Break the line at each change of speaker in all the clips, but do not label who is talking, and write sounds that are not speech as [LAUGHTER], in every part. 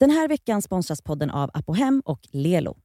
Den här veckan sponsras podden av Apohem och Lelo.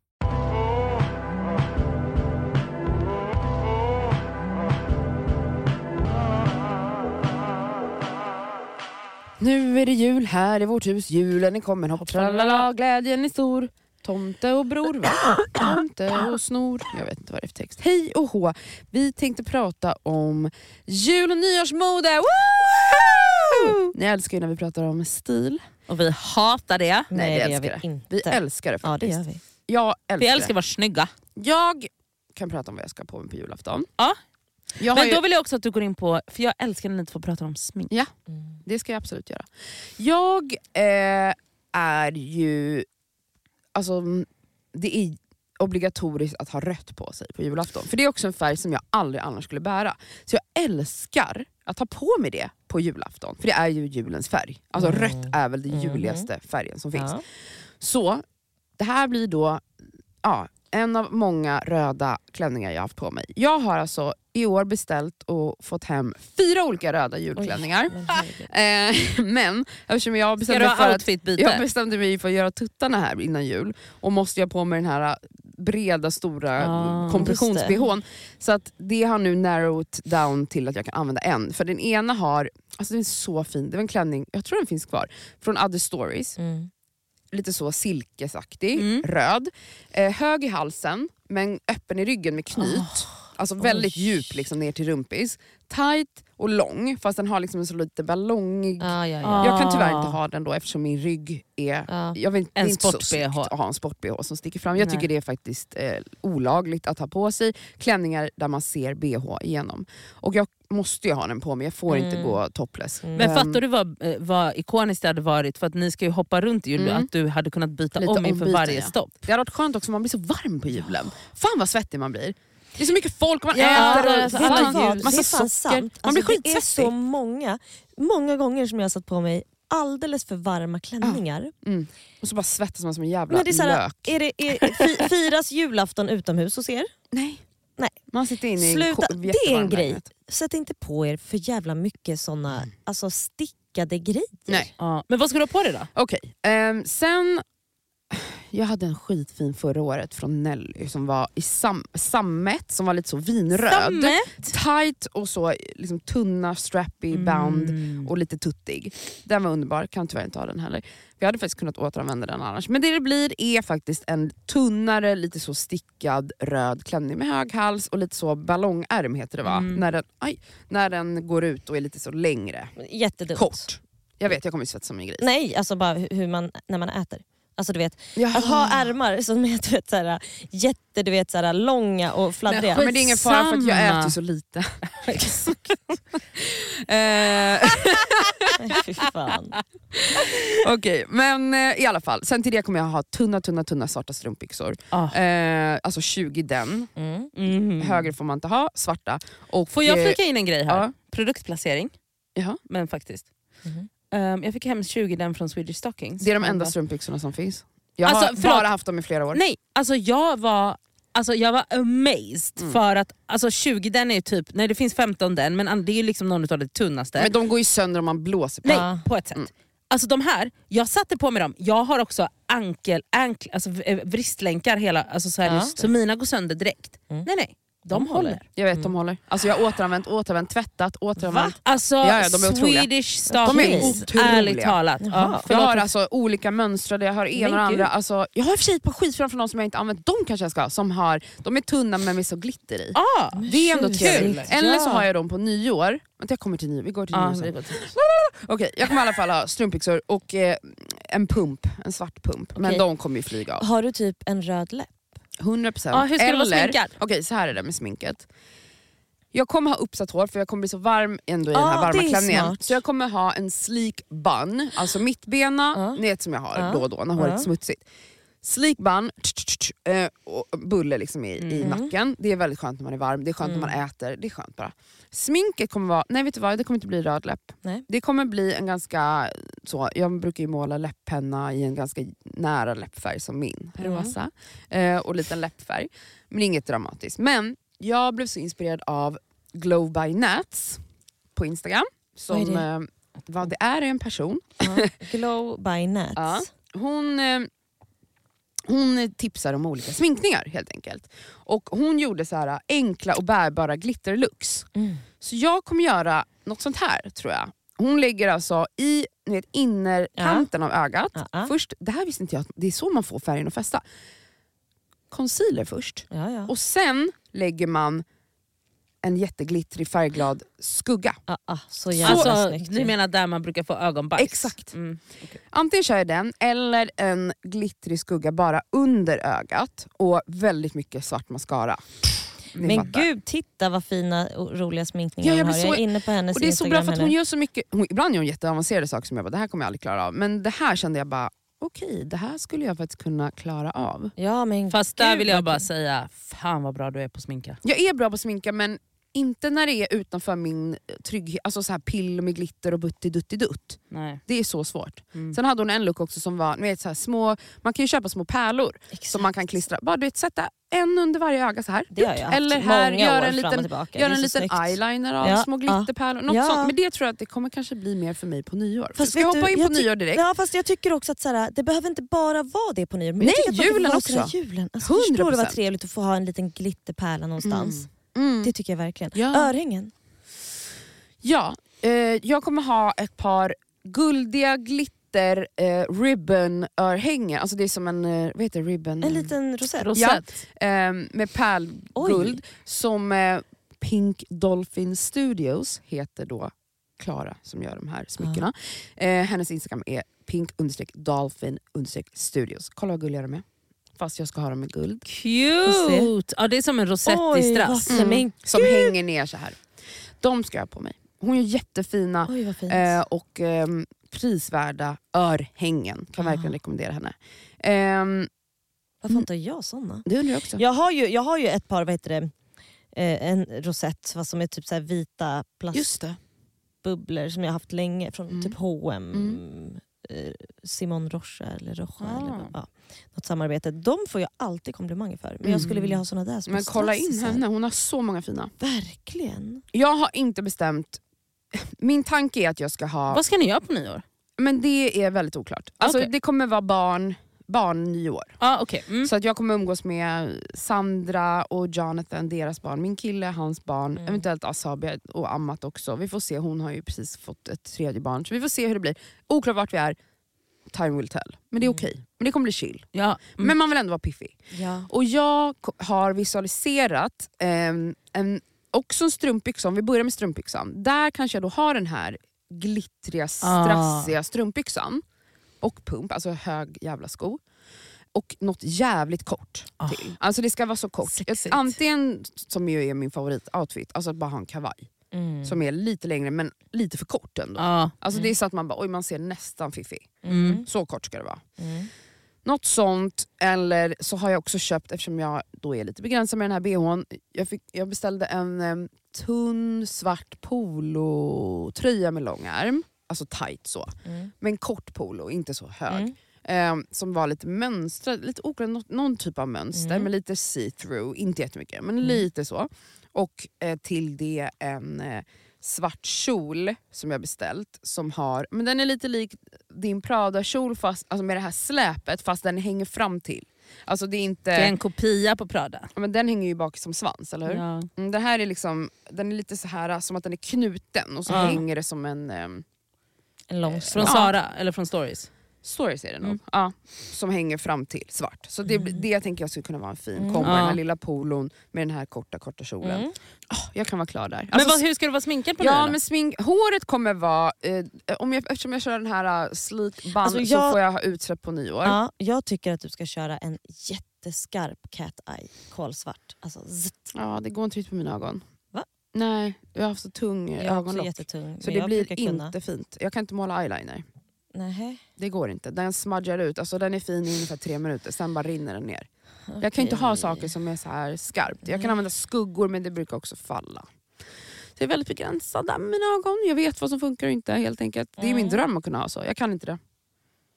Nu är det jul här i vårt hus, julen är kommen, hopp tralala, glädjen är stor. Tomte och bror, [COUGHS] va? Tomte och snor. Jag vet inte vad det är för text. Hej och hå! Vi tänkte prata om jul och nyårsmode. Woo! Ni älskar ju när vi pratar om stil.
Och vi hatar det.
Nej, vi
gör
älskar
vi inte.
Vi älskar det
ja, det
faktiskt.
gör vi.
Jag
Vi
älskar,
älskar att vara snygga.
det. Jag kan prata om vad jag ska på mig på julafton.
Ja.
Jag har
Men
ju...
då vill jag också att du går in på, för jag älskar när ni två pratar om smink.
Mm.
Det ska jag absolut göra. Jag eh, är ju... Alltså, mm, det är obligatoriskt att ha rött på sig på julafton. För det är också en färg som jag aldrig annars skulle bära. Så jag älskar att ha på mig det på julafton. För det är ju julens färg. Alltså
Mm.
rött är väl den
Mhm.
juligaste färgen som finns.
Ja.
Så det här blir då ja, en av många röda klänningar jag har haft på mig. Jag har alltså i år beställt och fått hem fyra olika röda julklänningar.
Men herregud.
Eh, [LAUGHS] men eftersom
Ska
jag bestämde,
du
mig för
ha
att,
outfitbyte?
jag bestämde mig för att göra tuttarna här innan jul och måste jag på mig den här breda stora
Ah,
kompressions-bhn. Så att det har nu narrowed down till att jag kan använda en. För den ena har, alltså den är så fin, det var en klänning, jag tror den finns kvar, från Other Stories.
Mm.
Lite så silkesaktig,
Mm.
röd, eh, hög i halsen men öppen i ryggen med knyt.
Ah,
Alltså väldigt
Oj.
djup liksom, ner till rumpis. Tight och lång fast den har liksom en så lite ballongig
Ja, ja, ja.
jag kan tyvärr
Ah.
inte ha den då eftersom min rygg är...
Ja.
Jag vet, det är
En
inte så
sport-BH.
snyggt att ha en sport-bh som sticker fram. Jag
Nej.
tycker det är faktiskt eh, olagligt att ha på sig klänningar där man ser bh igenom. Och jag måste ju ha den på mig, jag får inte
Mm.
gå topless.
Mm.
Men
Ehm,
fattar du vad, eh, vad ikoniskt det hade varit? För att ni ska ju hoppa runt i jul,
Mm.
att du hade kunnat byta
Lite
om inför
ombyten,
varje
ja.
stopp.
Det hade varit skönt också, man blir så varm på julen. Fan vad svettig man blir. Det är så mycket folk, man
Ja,
äter och
alltså,
Vet du
fan,
alla
vad?
jul-
Det är
massa
fan
socker.
sant.
Man blir
Alltså, det är
skitsvettig.
så många, många gånger som jag har satt på mig alldeles för varma klänningar.
Och så bara svettas man som en jävla
Men det är så här-
lök.
Är det, är, fi, [LAUGHS] firas julafton utomhus hos er?
Nej.
Nej.
Man sitter inne i
Sluta,
ko-
det är en
jättevarm
grej.
lägenhet.
Sätt inte på er för jävla mycket såna
Mm.
alltså, stickade grejer.
Nej.
Ja. Men vad ska du ha på dig då?
Okej, ehm, sen... Jag hade en skitfin förra året från Nelly som var i sam, sammet, som var lite så vinröd.
Samme?
Tight och så liksom tunna, strappy
Mm.
band
Mm.
och lite tuttig. Den var underbar, kan tyvärr inte ha den heller. Vi hade faktiskt kunnat återanvända den annars. Men det det blir är faktiskt en tunnare, lite så stickad röd klänning med hög hals och lite så ballongärm heter det va?
Mm.
När, den, aj, när den går ut och är lite så längre.
Jättedumt.
Kort. Jag vet, jag kommer ju svettas som en gris.
Nej, alltså bara hu- hur man, när man äter. Alltså du vet,
Jaha.
att ha ärmar som är du vet, så här, jätte, du vet, så här, långa och fladdriga.
Men det är ingen fara för att jag
Skitsamma.
äter så [LAUGHS] lite.
[LAUGHS]
Eh,
Fy fan.
Okej, men eh, i alla fall. Sen till det kommer jag ha tunna, tunna, tunna svarta strumpbyxor.
Ah.
Eh, alltså 20 den.
Mm.
Mhm.
Högre får man inte ha, svarta. Och,
Får jag
eh,
flika in en grej här?
Ja.
Produktplacering.
Jaha.
Men faktiskt.
Mhm.
Ehm, jag fick hem 20 den från Swedish Stockings.
Det är de
Jag
enda
bara-
strumpbyxorna som finns. Jag
Alltså,
har
förlåt.
bara haft dem i flera år.
Nej, alltså jag var, alltså jag var amazed
Mm.
för att alltså 20 den är ju typ, nej det finns 15 den men an- det är ju liksom någon av de tunnaste.
Men de går ju sönder om man blåser på
nej,
dem.
Ah.
på ett sätt.
Mm.
Alltså de här, jag satte på mig dem, jag har också ankel, ankel, alltså v- eh, vristlänkar hela, alltså så, här,
Ja.
så mina går sönder direkt.
Mm.
Nej nej, de,
De
håller.
håller.
Jag vet, de håller. Alltså jag har återanvänt, återanvänt, tvättat, återanvänt.
Alltså
Ja, ja, de är otroliga.
Swedish
De är
Stockings,
otroliga.
ärligt talat. Ja,
Jaha.
Jag
förlåt.
har alltså olika mönstrade, jag har ena
Men
och andra.
gud.
Alltså, jag har i och för sig ett par skitfina från någon som jag inte använt. De kanske jag ska ha. Som har, de är tunna men med så glitter i.
Ah,
Det är ändå
Tjusigt.
trevligt.
Kul.
Eller så
Ja.
har jag dem på nyår. Vänta jag kommer till nyår, vi går till
ah,
nyår sen.
det går till.
Okej, jag kommer i alla fall ha strumpbyxor och eh, en pump, en svart pump. Men
Okej.
de kommer ju flyga av.
Har du typ en röd läpp?
100%.
Ah, hur ska du vara
Eller,
sminkad?
okej så här är det med sminket. Jag kommer ha uppsatt hår för jag kommer bli så varm ändå i den
Ah,
här varma
det är
klänningen.
smart.
Så jag kommer ha en sleek bun, alltså mittbena,
Ja.
ni vet som jag har
Ja.
då och då när håret
Ja.
är smutsigt. Sleek bun, tch, tch, tch, eh, och bulle liksom i, i
Mm.
nacken. Det är väldigt skönt när man är varm, det är skönt
Mm.
när man äter, det är skönt bara. Sminket kommer vara, nej vet du vad, det kommer inte bli röd läpp.
Nej.
Det kommer bli en ganska, så, jag brukar ju måla läpppenna i en ganska nära läppfärg som min,
Mm.
rosa. Eh, och lite läppfärg. Men inget dramatiskt. Men jag blev så inspirerad av Glow by Nats på Instagram. Som,
Vad är
eh, vad det är är en person.
Glow by Nats.
Ja. hon, eh, hon tipsar om olika sminkningar helt enkelt. Och hon gjorde så här eh, enkla och bärbara glitterlooks.
Mm.
Så jag kommer göra något sånt här tror jag. Hon lägger alltså i ni vet, innerkanten av ögat.
Ja, ja.
Först, det här visste inte jag, att det är så man får färgen att fästa. Concealer först.
Ja, ja.
Och sen lägger man en jätteglittrig färgglad skugga.
Ah, ah, så jävla
Alltså,
snyggt.
ni
ju.
menar där man brukar få ögonbajs?
Exakt.
Mm.
Antingen kör jag den eller en glittrig skugga bara under ögat och väldigt mycket svart mascara. Ni
Men
fattar.
gud, titta vad fina och roliga sminkningar
Ja, jag
hon har.
blir
Jag är
så-
inne på hennes
Och det är så bra
Instagram
för att
här
hon
nu.
gör så mycket, hon, ibland gör hon jätteavancerade saker som jag bara, det här kommer jag aldrig klara av. Men det här kände jag bara, okej det här skulle jag faktiskt kunna klara av.
Ja, men
Fast där
gud,
vill jag
vad
bara
kul.
säga, fan vad bra du är på att sminka.
Jag är bra på att sminka men inte när det är utanför min trygghet, alltså så här pill med glitter och butti-dutti-dutt.
Nej.
Det är så svårt.
Mm.
Sen hade hon en look också som var, ni vet, så här, små, man kan ju köpa små pärlor som man kan klistra. Bara du vet, sätta en under varje öga så här.
Det har jag haft
Eller här,
många
gör
år
en
fram och
liten,
tillbaka.
gör
Det är
en
så
liten
snyggt.
eyeliner av
Ja,
små
ja.
glitterpärlor. Något
Ja.
sånt. Men det tror jag att det kommer kanske bli mer för mig på nyår.
Fast
Ska jag
vet
hoppa
du,
in på
jag ty-
nyår direkt?
Ja fast jag tycker också att så här, det behöver inte bara vara det på nyår. Men
Nej,
jag tycker att
julen
man kan vara
också.
sådär Julen. Alltså, förstår du vad
100%.
trevligt att få ha en liten glitterpärla någonstans?
Mm.
Det tycker jag verkligen.
Ja.
Örhängen.
Ja, eh, jag kommer ha ett par guldiga glitter eh, ribbon-örhängen. Alltså det är som en, eh, vad heter det, ribbon?
En liten rosett.
Rosett.
eh, med
Oj.
pärlguld som eh, Pink Dolphin Studios heter då Klara som gör de här smyckena.
Ah.
Eh, hennes Instagram är pink dolphin studios. Kolla vad gulliga de är. Fast jag ska ha dem med guld.
Cute! Ja, det är som en rosett i
Oj,
strass. Mm.
vad- men gud.
Som hänger ner så här. De ska jag ha på mig. Hon gör jättefina
Oj vad fint.
eh, och ehm, prisvärda örhängen. Kan
Ah.
verkligen rekommendera henne. Ehm,
Varför inte har jag såna?
det undrar jag också.
Jag har ju, jag har ju ett par, vad heter det, eh, en rosett vad som är typ så här vita
Just det.
plastbubblor som jag har haft länge från
Mm.
typ H&M.
Mm.
eh, Simon Rocha eller Rocha
Ah.
eller vad- ja, något samarbete. De får jag alltid komplimanger för. Men jag skulle
Mm.
vilja ha såna där små
Men kolla in
strassisar.
henne, hon har så många fina.
Verkligen.
Jag har inte bestämt. [LAUGHS] Min tanke är att jag ska ha...
Vad ska ni göra på nyår?
Men det är väldigt oklart. Alltså,
Okej.
Det kommer vara barn, barn nyår.
Ah, okay. mm.
Så att jag kommer umgås med Sandra och Jonathan, deras barn. Min kille, hans barn.
Mm.
Eventuellt Asabia och ammat också. Vi får se, hon har ju precis fått ett tredje barn. Så vi får se hur det blir. Oklart vart vi är. Time will tell. Men det är
Mm.
okej. Men det kommer bli chill.
ja. mm.
Men man vill ändå vara piffig.
Ja.
Och jag ko- har visualiserat ehm, en, också en strumpbyxa, om vi börjar med strumpbyxan. Där kanske jag då har den här
Ah.
glittriga, strassiga strumpbyxan. Och pump, alltså hög jävla sko. Och något jävligt kort
Ah.
till. Alltså det ska vara så kort.
Sexigt.
Ett- Antingen, som ju är min favoritoutfit, alltså att bara ha en kavaj.
Mm.
Som är lite längre men lite för kort ändå.
Ja.
Alltså det är så att man bara, oj man ser nästan fiffig.
Mm.
Så kort ska det vara.
Mm.
Något sånt, eller så har jag också köpt, eftersom jag då är lite begränsad med den här bhn, jag, fick, jag beställde en em, tunn svart polotröja med lång ärm, alltså tight så,
Mm.
men kort polo, inte så hög.
Mm.
Em, Ehm, som var lite mönstrad, lite oklart, nå- någon typ av mönster
Mm.
men lite see-through, inte jättemycket men
Mm.
lite så. Och eh, till det en eh, svart kjol som jag beställt som har, men den är lite lik din Prada-kjol fast alltså med det här släpet fast den hänger fram till. Alltså det är inte,
Det är en kopia på Prada.
ja, men den hänger ju bak som svans eller hur?
Ja.
Mm, den här är liksom, den är lite så här som att den är knuten och så
Ja.
hänger det som en ehm,
En lång
Från
strump.
Ja.
Sara, eller från Stories.
Stories är det nog.
Mm.
Ja, Mm. som hänger fram till svart. Så det, det tänker jag skulle kunna vara en fin
Mm.
kombo, den
Ja.
här lilla polon med den här korta korta kjolen.
Mm.
Åh, jag kan vara klar där.
Men
Alltså,
vad, hur ska du vara sminkad på
ja,
nyår? då?
men smink, håret kommer vara, eh, om jag, eftersom jag kör den här uh, sleek bun
Alltså,
så
jag-
får jag ha utsläpp på nyår.
Ja, jag tycker att du ska köra en jätteskarp cat eye, kolsvart. Alltså, zzz.
Ja, det går inte riktigt på mina ögon.
Va?
Nej, jag har haft så tung eh,
jag är också
ögonlock.
jättetung.
Så
men
det
jag
blir
brukar kunna-
inte fint. Jag kan inte måla eyeliner.
Nähä.
Det går inte. Den smudgar ut. Alltså, den är fin i ungefär tre minuter, sen bara rinner den ner. Jag kan
Okej. Mm.
inte ha saker som är så här skarpt. Jag kan använda skuggor men det brukar också falla. Så jag är väldigt begränsad där med mina ögon. Jag vet vad som funkar och inte helt enkelt. Det är min
Mm.
dröm att kunna ha så. Jag kan inte det.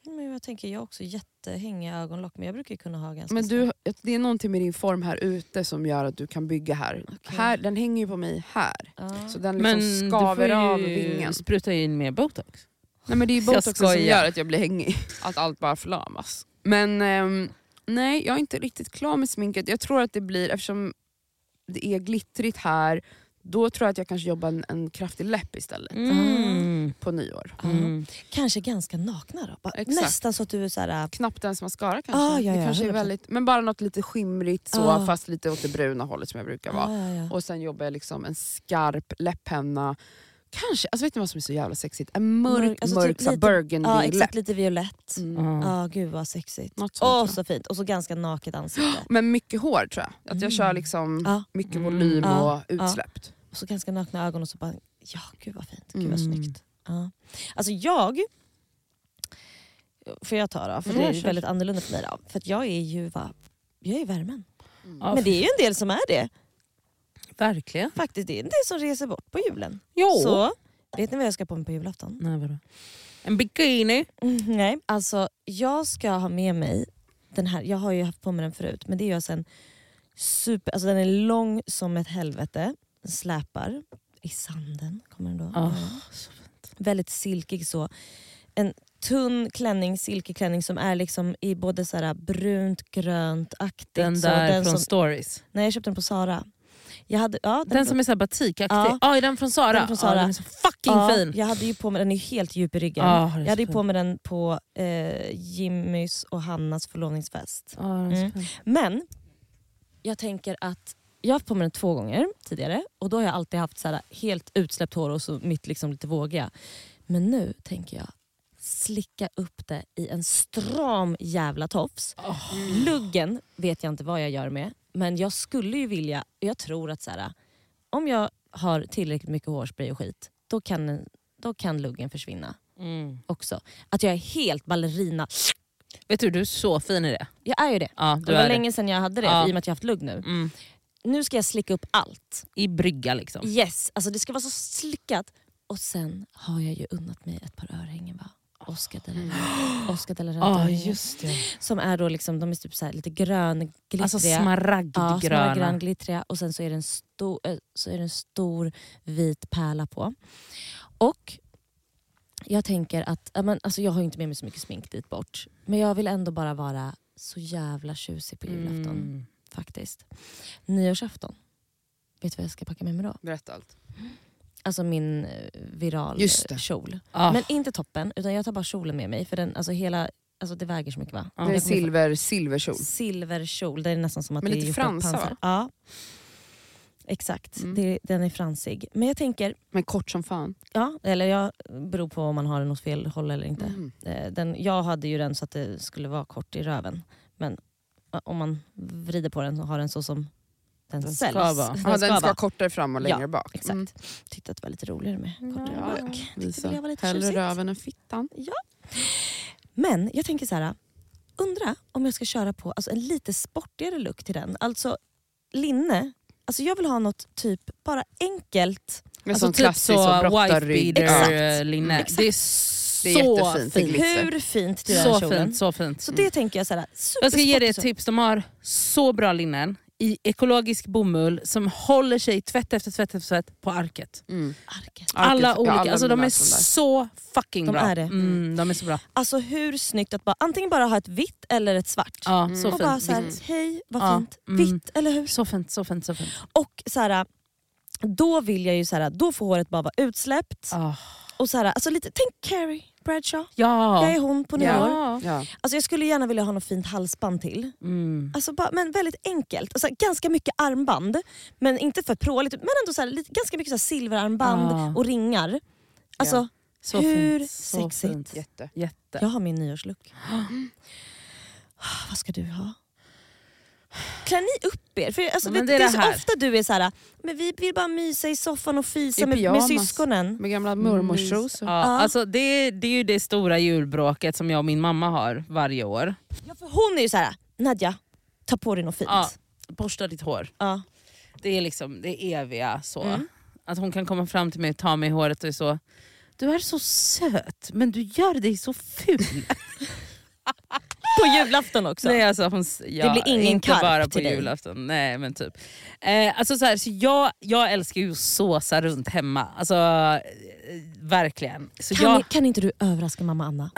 Men jag tänker, jag har också jättehängiga ögonlock men jag brukar ju kunna ha ganska
Men
snabbt.
du, det är någonting med din form här ute som gör att du kan bygga här.
Okej.
här den hänger ju på mig här.
Ja.
Så den liksom skaver av vingen.
spruta in mer botox.
Nej, men det är ju
Jag
botoxen som
skojar.
gör att jag blir hängig. Att allt bara förlamas. Men ehm, nej, jag är inte riktigt klar med sminket. Jag tror att det blir, eftersom det är glittrigt här, då tror jag att jag kanske jobbar en, en kraftig läpp istället.
Mm.
På nyår.
Mm.
Kanske ganska nakna då. Bara,
Exakt.
nästan så att du är så här, äh,
Knappt ens mascara kanske.
Ah, ja,
det
ja,
kanske är
100%.
väldigt, men bara något lite skimrigt så,
Ah.
fast lite åt det bruna hållet som jag brukar vara.
ja, ja, ja.
Och sen jobbar jag liksom en skarp läpppenna. Kanske, alltså vet ni vad som är så jävla sexigt? En mörk,
Mörk, alltså typ
mörk så här
lite- ja,
burgundy-läpp.
exakt, lite violett. Ja,
Mm.
Ja.
gud vad sexigt.
Något sånt,
Åh
tror jag.
så fint. Och så ganska naket ansikte.
Men mycket hår tror jag. Att jag kör liksom
Ja.
mycket
Mm.
volym
Ja.
och utsläppt.
Och så ganska nakna ögon och så bara, ja gud vad fint. Gud vad
Mm.
snyggt. Ja. Alltså jag, får jag ta då? För
Mm,
det är
kör,
ju
kör.
väldigt annorlunda för mig då. För att jag är ju va, jag är värmen.
Ja,
Men det är ju en del som är det.
Verkligen.
Faktiskt, det är en del som reser bort på julen.
Jo.
Så, vet ni vad jag ska på mig på julafton?
Nej, vadå? En bikini.
Mm, nej. Alltså jag ska ha med mig den här, jag har ju haft på mig den förut men det är ju alltså en super, alltså den är lång som ett helvete, den släpar i sanden. kommer den då.
Ah,
Ja. Väldigt silkig så. En tunn klänning, silkeklänning som är liksom i både så här brunt, grönt, aktigt.
Den
så,
där
den
från
som,
Stories.
Nej jag köpte den på Sara. Jag hade, ja,
Den som är såhär batikaktig.
Ja.
Ja, Ah, är den från Sara?
Den från Zara.
Ja, den är så fucking
ja,
fin. Ah,
Jag hade ju på mig, den är ju helt djup i ryggen.
Ja, den är
Jag
så
hade ju
fin.
på mig den på eh, Jimmys och Hannas förlovningsfest.
Ja, den är så
Mm.
fin.
Men jag tänker att jag har haft på mig den två gånger tidigare och då har jag alltid haft så här helt utsläppt hår och så mitt liksom lite vågiga. Men nu tänker jag slicka upp det i en stram jävla tofs. Luggen vet jag inte vad jag gör med men jag skulle ju vilja, jag tror att så här, om jag har tillräckligt mycket hårspray och skit då kan, då kan luggen försvinna
Mm.
också. Att jag är helt ballerina.
Vet du, du är så fin i det.
Jag är ju det.
Ja,
Det
du
var
är
länge sedan jag hade det
Ja.
i och med att jag haft lugg nu.
det. Mm.
Nu ska jag slicka upp allt.
I brygga liksom.
Yes, alltså det ska vara så slickat. Och sen har jag ju unnat mig ett par örhängen va? Oscar de la [GASPS] Renta- Oscar de la Renta
Ja,
örhängen.
Ah, just det.
Som är då liksom, de är typ så här lite grönglittriga.
Alltså
ja,
smaragdgröna.
smaragd, grön, glittriga. Och sen så är, det en stor, eh, så är det en stor vit pärla på. Och jag tänker att, ja, men, alltså jag har ju inte med mig så mycket smink dit bort. Men jag vill ändå bara vara så jävla tjusig på julafton
Mm.
faktiskt. Nyårsafton. Vet du vad jag ska packa med mig då?
Berätta allt.
Alltså min eh, viral
Just det.
eh, kjol.
Ah.
Men inte toppen, utan jag tar bara kjolen med mig. För den, alltså hela, alltså det väger så mycket va?
Ja.
Det är
Jag kommer få-
silver, silverkjol.
Silverkjol, det är nästan som att
Men
det
lite
är gjort av
fransar,
pansar.
va?
Ja. Exakt,
Mm.
det, den är fransig. Men jag tänker,
Men kort som fan.
ja, eller jag beror på om man har den åt fel håll eller inte.
Mm.
Eh, Den, jag hade ju den så att det skulle vara kort i röven. Men eh, om man vrider på den och har den så som den,
Den ska
säljs.
vara.
Ja, den ska vara kortare fram och
Ja,
längre bak.
Exakt.
Mm.
Tyckte att det var lite roligare med kortare
Ja, ja.
bak.
Visa.
jag var lite
Hellre
tjusigt.
röven än fittan.
Men jag tänker så här, undra om jag ska köra på alltså, en lite sportigare look till den. Alltså linne. Alltså jag vill ha något typ bara enkelt.
Med
Alltså
sån
typ
klassisk
så
så
wife
brottarrygg.
Exakt.
beater-linne.
Exakt.
Det är
Det är
så
jättefint.
fint.
Glitter.
Hur fint du
Så
är kjolen.
fint, så fint.
Så det tänker jag så här,
Jag ska ge dig ett
supersportig
tips. De har så bra linnen i ekologisk bomull som håller sig tvätt efter tvätt efter tvätt på arket.
Mm.
så- Arket.
Alla
Arket- ja,
olika,
alla
alltså de
mina
är
sån där.
så fucking
De
bra.
är det.
Mm, de är så bra.
Alltså hur snyggt att bara, antingen bara ha ett vitt eller ett svart.
Ja,
Mm.
så,
och
fint.
bara så här,
Vitt.
hej vad
Ja,
fint.
mm.
Vitt, eller hur?
så fint. Så fint, så fint.
Och så här, då vill jag ju så här, då får håret bara vara utsläppt.
Ah.
Och så här, alltså lite, tänk Carrie Bradshaw.
Ja.
Jag är hon på nyår.
ja.
Ja.
Alltså jag skulle gärna vilja ha något fint halsband till.
Mm.
Alltså bara, men väldigt enkelt. Alltså ganska mycket armband, men inte för pråligt. Men ändå så här, lite, ganska mycket så här silverarmband
Ah.
och ringar. Alltså,
Ja.
Så
Hur
fint. Så
sexigt?
Fint.
Jätte.
Jätte.
jag har min nyårslook.
[GASPS]
Ah, Vad ska du ha? Klär ni upp er? För alltså,
Men
vet,
det
det,
är
är
det
så
här.
ofta du är så här, men vi vill bara mysa i soffan och fisa
I
med, med
pyjamas.
syskonen.
Med gamla mormorsrosor.
Ja,
Ja.
Alltså det, det är ju det stora julbråket som jag och min mamma har varje år.
Ja, för hon är ju så här, Nadja, ta på dig något fint.
Ja, borsta ditt hår.
Ja.
Det är liksom det eviga så.
Mm.
Att hon kan komma fram till mig och ta mig i håret och är så [LAUGHS] Alltså. Du är så söt men du gör dig så ful.
På julafton också.
Nej, alltså, hon, s- ja,
blir ingen
inte
karp
bara på
till dig.
julafton. Nej, men typ. Eh, alltså, så här, så jag, jag älskar ju att såsa runt hemma. Alltså, eh, verkligen. Så
Kan,
jag,
ni- kan inte du överraska
[CLEARS THROAT]
mamma Anna?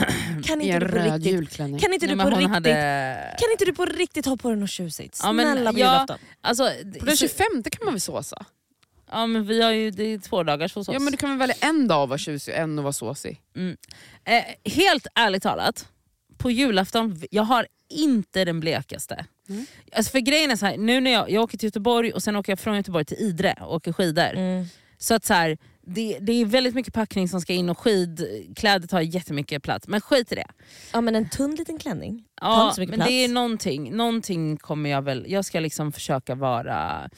Kan
I
inte
en
du på
röd
riktigt,
julklänning.
kan inte
nej,
du
men
på
hon
riktigt,
hade...
kan inte du på riktigt ha på dig något tjusigt?
Ja, men
Snälla på
jag-
julafton.
Alltså,
På den
så,
25 kan man väl såsa?
ja, men vi har ju, det är två dagars hos oss.
Ja, men du kan väl välja en dag att vara tjusig och en att vara såsig?
Eh, helt ärligt talat, på julafton, jag har inte den blekaste.
Mm.
Alltså för grejen är så här, nu när jag, jag åker till Göteborg och sen åker jag från Göteborg till Idre och åker skidor.
Mm.
Så att så här, det, det är väldigt mycket packning som ska in och skidkläder tar jättemycket plats. Men skit i det.
Ja, men en tunn liten klänning. Tar
Ja,
inte så
men
mycket
det är
plats.
någonting, någonting kommer jag väl... Jag ska liksom försöka vara...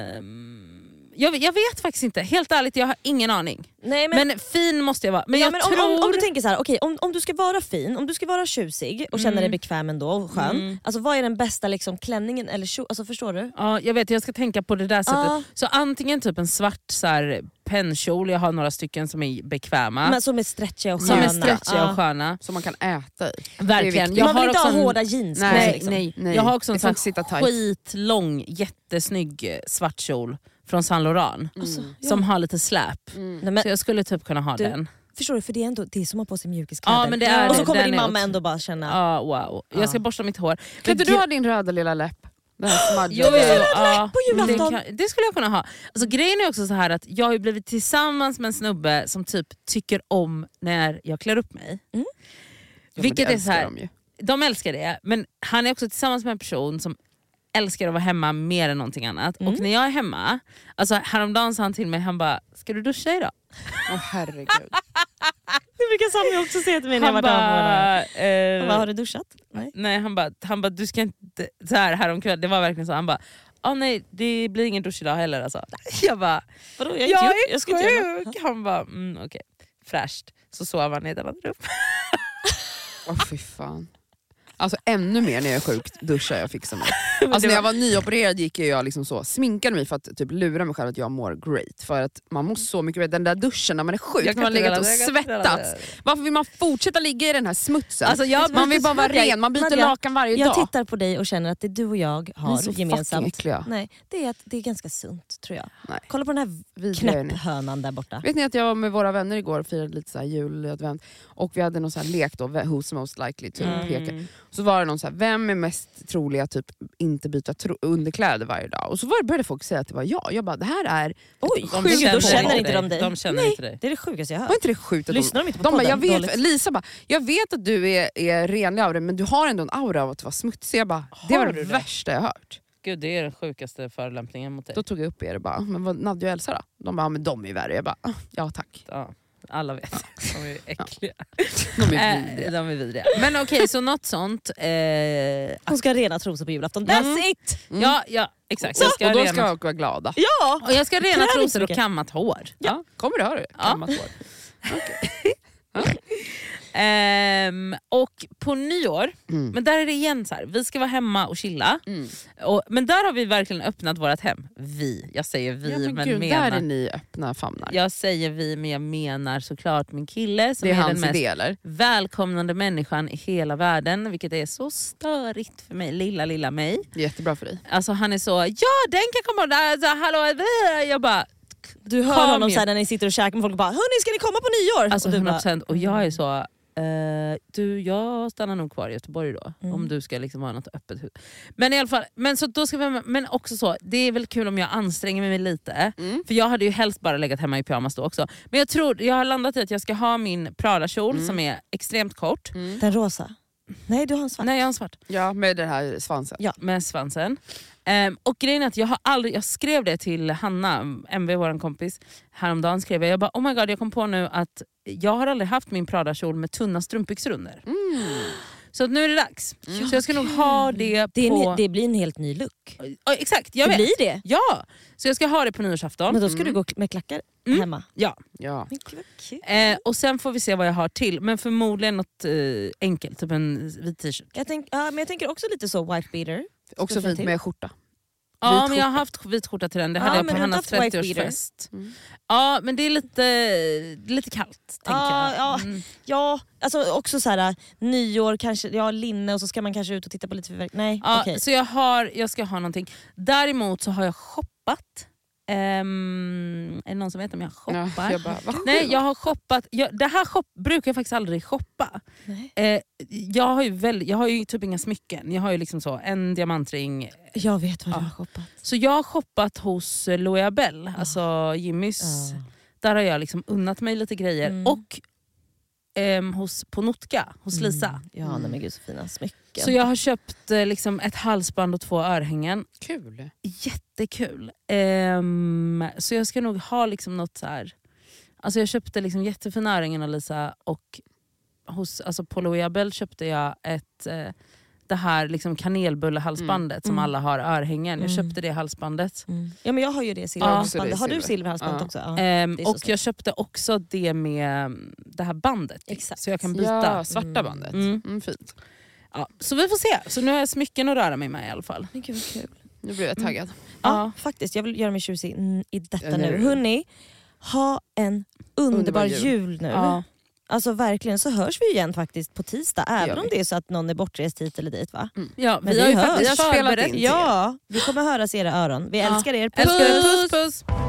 ehm, jag, jag vet faktiskt inte, helt ärligt jag har ingen aning.
Nej, men,
Men, fin måste jag vara. Men
ja,
jag
men
tror...
om, om, om du tänker så här, okej, om, om du ska vara fin, om du ska vara tjusig och känna
Mm.
dig bekväm ändå och skön.
Mm.
Alltså, vad är den bästa liksom, klänningen eller tjo, alltså, Förstår du?
Ja, jag vet, jag ska tänka på det där sättet.
Ja.
Så antingen typ en svart så här, pennkjol, jag har några stycken som är bekväma.
Men som är stretchiga och
som
sköna.
är stretchiga
Ja.
och sköna.
Som man kan äta i.
Verkligen.
viktigt.
Jag
Man vill
har
inte
också
ha
en-
hårda jeans på
Nej,
sig. Liksom.
nej,
Nej,
Jag har också en
det
sån
får inte sitta
här
tajt.
skitlång, jättesnygg eh, svart kjol från Saint Laurent.
Alltså, ja.
Som har lite släp.
Nej, men,
Så jag skulle typ kunna ha
Du-
den.
förstår du? För det är ändå det är som att ha på sig mjukiskläder.
Ja, men det är
och så
det.
kommer
Den
din
är
mamma
också-
ändå bara känna...
Ja, wow.
Ja.
Jag ska borsta mitt hår.
Kan inte
Men
du ha din röda lilla läpp? Den här
Jo,
smudgen.
jo, jo, ja,
på julafton.
Det, kan, det skulle jag kunna ha. Alltså, grejen är också så här att jag har ju blivit tillsammans med en snubbe som typ tycker om när jag klär upp
Mm.
mig.
men
vilket
det
är så här-
älskar de ju.
De älskar det, men han är också tillsammans med en person som älskar att vara hemma mer än någonting annat.
Mm.
Och när jag är hemma, alltså häromdagen sa han till mig, han bara “ska du duscha idag?”
Åh herregud.
Det brukar Sami också säga till mig
Han bara, eh,
Han bara, har du duschat? Nej.
Nej han bara, han bara du ska inte... Så här, häromkväll, det var verkligen så. Han bara, ah, nej det blir ingen dusch idag heller alltså. Jag bara,
Vadå, jag, har
jag
inte gjort-
är
jag ska inte göra något.
sjuk! Han bara, mm, okej. Fräscht. Så sov han i ett annat rum.
Åh fy fan. Alltså ännu mer när jag är sjuk duschar jag och
[LAUGHS]
fixar mig. Alltså, när jag var nyopererad gick ju jag liksom så, sminkade mig för att typ, lura mig själv att jag mår great. För att man mår så mycket bättre. Den där duschen när man är sjuk, när man har
inte
legat och
hålla- jag kan inte hålla
svettats.
det.
Varför vill man fortsätta ligga i den här smutsen?
Alltså, jag,
man vill bara vara
Nadja,
ren, man byter
Nadja,
lakan varje
Jag
dag.
tittar på dig och känner att det du och jag
Ni är
har
så fucking
gemensamt
äckliga.
Nej, det är att det är ganska sunt tror jag.
Nej.
Kolla på den här
Vidriga är ni.
knäpphönan där borta.
Vet ni att jag var med våra vänner igår och firade lite så här juladvent och vi hade någon så här lek då, ve- who's most likely to peka.
Mm.
Så var det någon så här, vem är mest trolig att typ inte byta tro- underkläder varje dag? Och så var det, började folk säga att det var jag. Jag bara, det här är...
Oj,
De
sjukt,
känner
då känner
inte
inte
dig.
de dig.
De känner
Nej,
inte dig.
Det är det sjukaste jag
Var
hört.
inte det sjukt? Att de,
Lyssnar de inte på
de bara,
podden?
jag vet,
Dåligt.
Lisa bara, jag vet att du är, är renlig av dig men du har ändå en aura av att vara smutsig. Jag bara, det
Har du
var det
det?
värsta jag hört.
Gud det är den sjukaste förolämpningen mot dig.
Då tog jag upp er och bara, "Ah, men vad, Nadja och Elsa då? De bara, "Ja, men de är ju värre. Jag bara, "Ah, ja tack.
Ja, alla
[LAUGHS]
vet. De är äckliga.
De
Eh,
är
Äh,
vidriga.
de är vidriga. Men okej, så något sånt. Eh,
Hon ska ha rena trosor på julafton. That's
Mm.
it!
Mm.
Ja, ja exakt.
Så,
Jag ska
och
ha
då ska
rena,
jag vara glada.
Ja!
och jag ska ha rena
Klär inte
trosor och
mycket.
kammat hår.
Ja. Kommer du ha det?
Ja.
Kammat hår.
Ehm, och på nyår,
Mm.
men där är det igen så här, vi ska vara hemma och chilla.
Mm.
Och, men där har vi verkligen öppnat vårt hem. Vi, jag säger vi
Ja,
men,
men gud, där är
menar...
ni öppna famnar.
Jag säger vi men jag menar såklart min kille som
det är
är den
hans
mest
idé eller?
välkomnande människan i hela världen, vilket är så störigt för mig, lilla lilla mig.
Jättebra för dig.
Alltså han är så, ja den kan komma, där, så, hallå, vi." jag bara,
Du hör
Kom
honom
ju.
så här, när ni sitter och käkar med folk och bara “Hörni, ska ni komma på nyår?”
alltså
och du bara,
100% och jag är så, eh, du jag stannar nog kvar i Göteborg då, om du ska liksom ha något öppet hus. Men i alla fall, men, så då ska vi, men också så, det är väl kul om jag anstränger mig lite,
Mm.
för jag hade ju helst bara legat hemma i pyjamas då också. Men jag tror, jag har landat i att jag ska ha min Prada-kjol som är extremt kort.
“Den rosa?” Nej, du har en svart.
Nej jag har en svart.
Ja, med den här svansen.
med svansen. Ehm, och grejen är att jag har aldrig, jag skrev det till Hanna, MV vår kompis, häromdagen skrev jag, jag bara oh my god jag kom på nu att jag har aldrig haft min Prada-kjol med tunna strumpbyxor under. Så att nu är det dags. Så jag ska nog ha det på...
Mm. Det, är en, det blir en helt ny look.
Ja, exakt, jag vet.
det blir det.
Ja! Så jag ska ha det på nyårsafton.
Men då ska du gå med klackar
Mm.
hemma.
Ja.
Ja.
Men gud, vad kul.
Eh, och sen får vi se vad jag har till, men förmodligen något eh, enkelt, typ en vit t-shirt.
Jag, tänk, ja, men jag tänker också lite så white beater.
Också
Ska vi
fint
till?
med skjorta.
Ja,
Vit
men jag har
skjorta.
haft vit skjorta till den. Det
Ja,
hade jag
men
på
du har inte
Hannas
haft white beater.
30-årsfest.
Mm.
Ja, men det är lite, lite kallt. Tänker
Ja,
jag.
ja.
Mm.
Ja, alltså också så här nyår, kanske, ja, linne och så ska man kanske ut och titta på lite fyrverkeri. Nej,
Ja,
okej.
Så jag, har, jag ska ha någonting. Däremot så har jag shoppat. Ehm, är det någon som vet om jag
Ja,
shoppar?
jag bara, vad sjukt.
Nej, jag har shoppat. Jag, det här shop, brukar jag faktiskt aldrig shoppa.
Nej.
Eh, jag, har ju väl, jag har ju typ inga smycken. Jag har ju liksom så, en diamantring.
Jag vet vad
Ja.
du har shoppat.
Så jag har shoppat hos eh, Loea Bell, alltså Jimmys. Där har jag liksom unnat mig lite grejer.
Mm.
Och ehm, hos, på Notka, hos Lisa.
Ja, nej, men gud så fina smycken.
Mm. Så jag har köpt eh, liksom ett halsband och två örhängen.
Kul.
Jättekul. Ehm, så jag ska nog ha liksom något så här. Alltså jag köpte liksom jättefina örhängen av Lisa och hos, alltså på Loea Bell köpte jag ett eh, det här liksom kanelbullehalsbandet som
Mm.
alla har örhängen. Jag
Mm.
köpte det halsbandet.
Mm. Ja, men jag har ju det
Ja, också
silverhalsbandet.
det
har du
silver.
silverhalsbandet
Ja.
också? Ja.
Ehm,
det är så
och jag köpte också det med mm, det här bandet.
Exakt.
Så jag kan byta.
Ja, svarta bandet.
Mm.
Mm. fint.
Ja, så vi får se. Så nu har jag smycken att röra mig med i alla fall.
Men gud vad kul.
Nu blev jag taggad.
Ja,
Ja.
faktiskt. Jag vill göra mig tjusig mm, i detta
Ja,
nu.
nu.
Hörni, ha en underbar,
Underbar
jul.
jul.
nu.
Ja.
Alltså verkligen, så hörs vi igen faktiskt på tisdag. Även
gör
om det är så att någon är bortrest hit eller dit va?
Ja,
Men
vi har
vi
ju
hörs.
faktiskt
Vi har spelat
förberett.
in.
Ja, vi kommer höras i era öron. Vi
Ja.
älskar er. Puss!
Älskar er, puss puss!